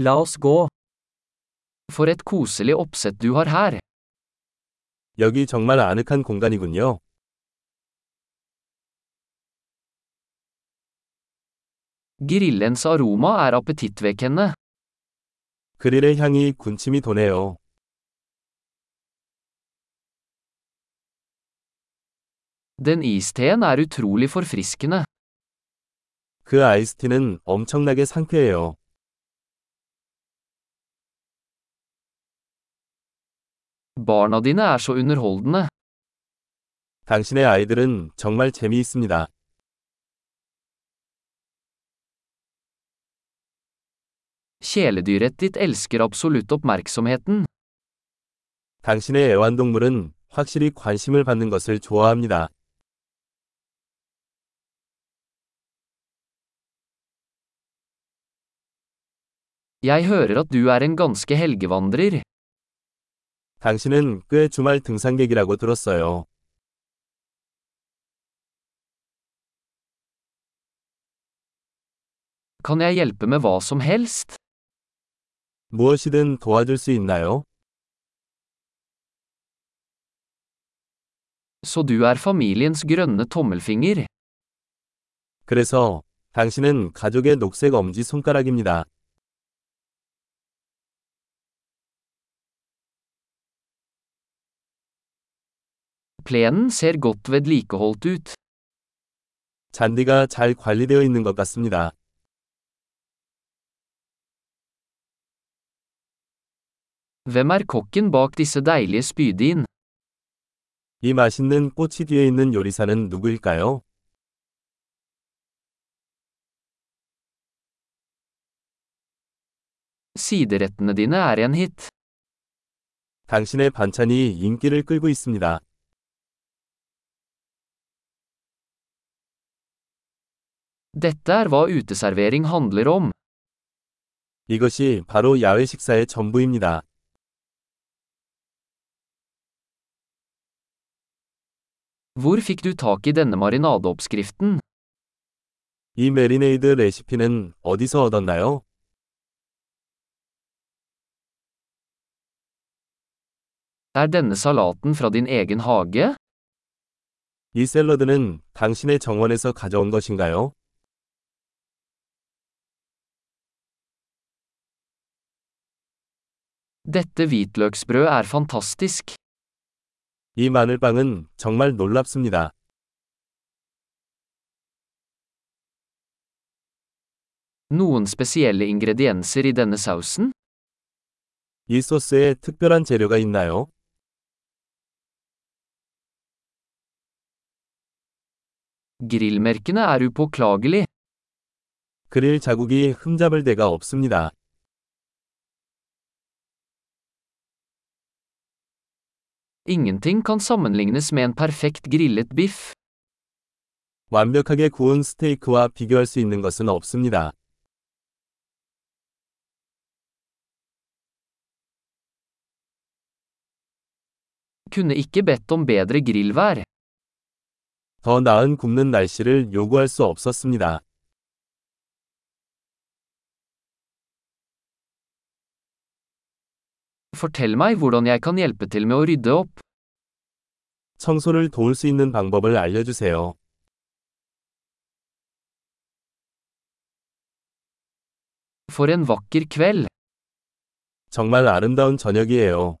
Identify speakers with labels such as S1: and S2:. S1: La oss gå. For et koselig oppsett du har her.
S2: 여기 정말 아늑한 공간이군요.
S1: Grillens aroma er appetittvekkende.
S2: 그릴의 향이 군침이 도네요.
S1: Den isteen er utrolig forfriskende.
S2: 그 아이스티는 엄청나게 상쾌해요.
S1: Barna dine er så underholdende.
S2: 당신의 아이들은 정말 재미있습니다.
S1: Kjæledyret ditt elsker absolutt oppmerksomheten.
S2: 당신의 애완동물은 확실히 관심을 받는 것을 좋아합니다.
S1: Jeg hører at du er en ganske helgevandrer.
S2: 당신은 꽤 주말 등산객이라고 들었어요.
S1: Kan jeg hjelpe med hva som helst?
S2: 무엇이든 도와줄 수 있나요?
S1: Så du er familiens grønne tommelfinger.
S2: 그래서 당신은 가족의 녹색 엄지 손가락입니다.
S1: Plenen ser godt vedlikeholdt ut.
S2: 잔디가 잘 관리되어 있는 것 같습니다.
S1: Hvem er kokken bak disse deilige spydin?
S2: 이 맛있는 꽃이 뒤에 있는 요리사는 누구일까요?
S1: Siderettene dine er en hit.
S2: 당신의 반찬이 인기를 끌고 있습니다.
S1: Dette er hva uteservering handler om.
S2: 이것이 바로 야외 식사의 전부입니다.
S1: Hvor fikk du tak i denne marinadeoppskriften?
S2: 이 메리네이드 레시피는 어디서 얻었나요?
S1: Er denne salaten fra din egen hage?
S2: 이 샐러드는 당신의 정원에서 가져온 것인가요?
S1: Dette hvitløksbrød er fantastisk.
S2: 이 마늘빵은 정말 놀랍습니다.
S1: Noen spesielle ingredienser i denne sausen?
S2: 이 소스에 특별한 재료가 있나요?
S1: Grillmerkene er upåklagelig.
S2: 그릴 자국이 흠잡을 데가 없습니다.
S1: Ingenting kan sammenlignes med en perfekt grillet biff.
S2: 완벽하게 구운 스테이크와 비교할 수 있는 것은 없습니다.
S1: Kunne ikke bedt om bedre grillvær.
S2: 더 나은 굽는 날씨를 요구할 수 없었습니다.
S1: Fortell meg hvordan jeg kan hjelpe til med å rydde opp.
S2: 청소를 도울 수 있는 방법을 알려주세요.
S1: For en vakker kveld.
S2: 정말 아름다운 저녁이에요.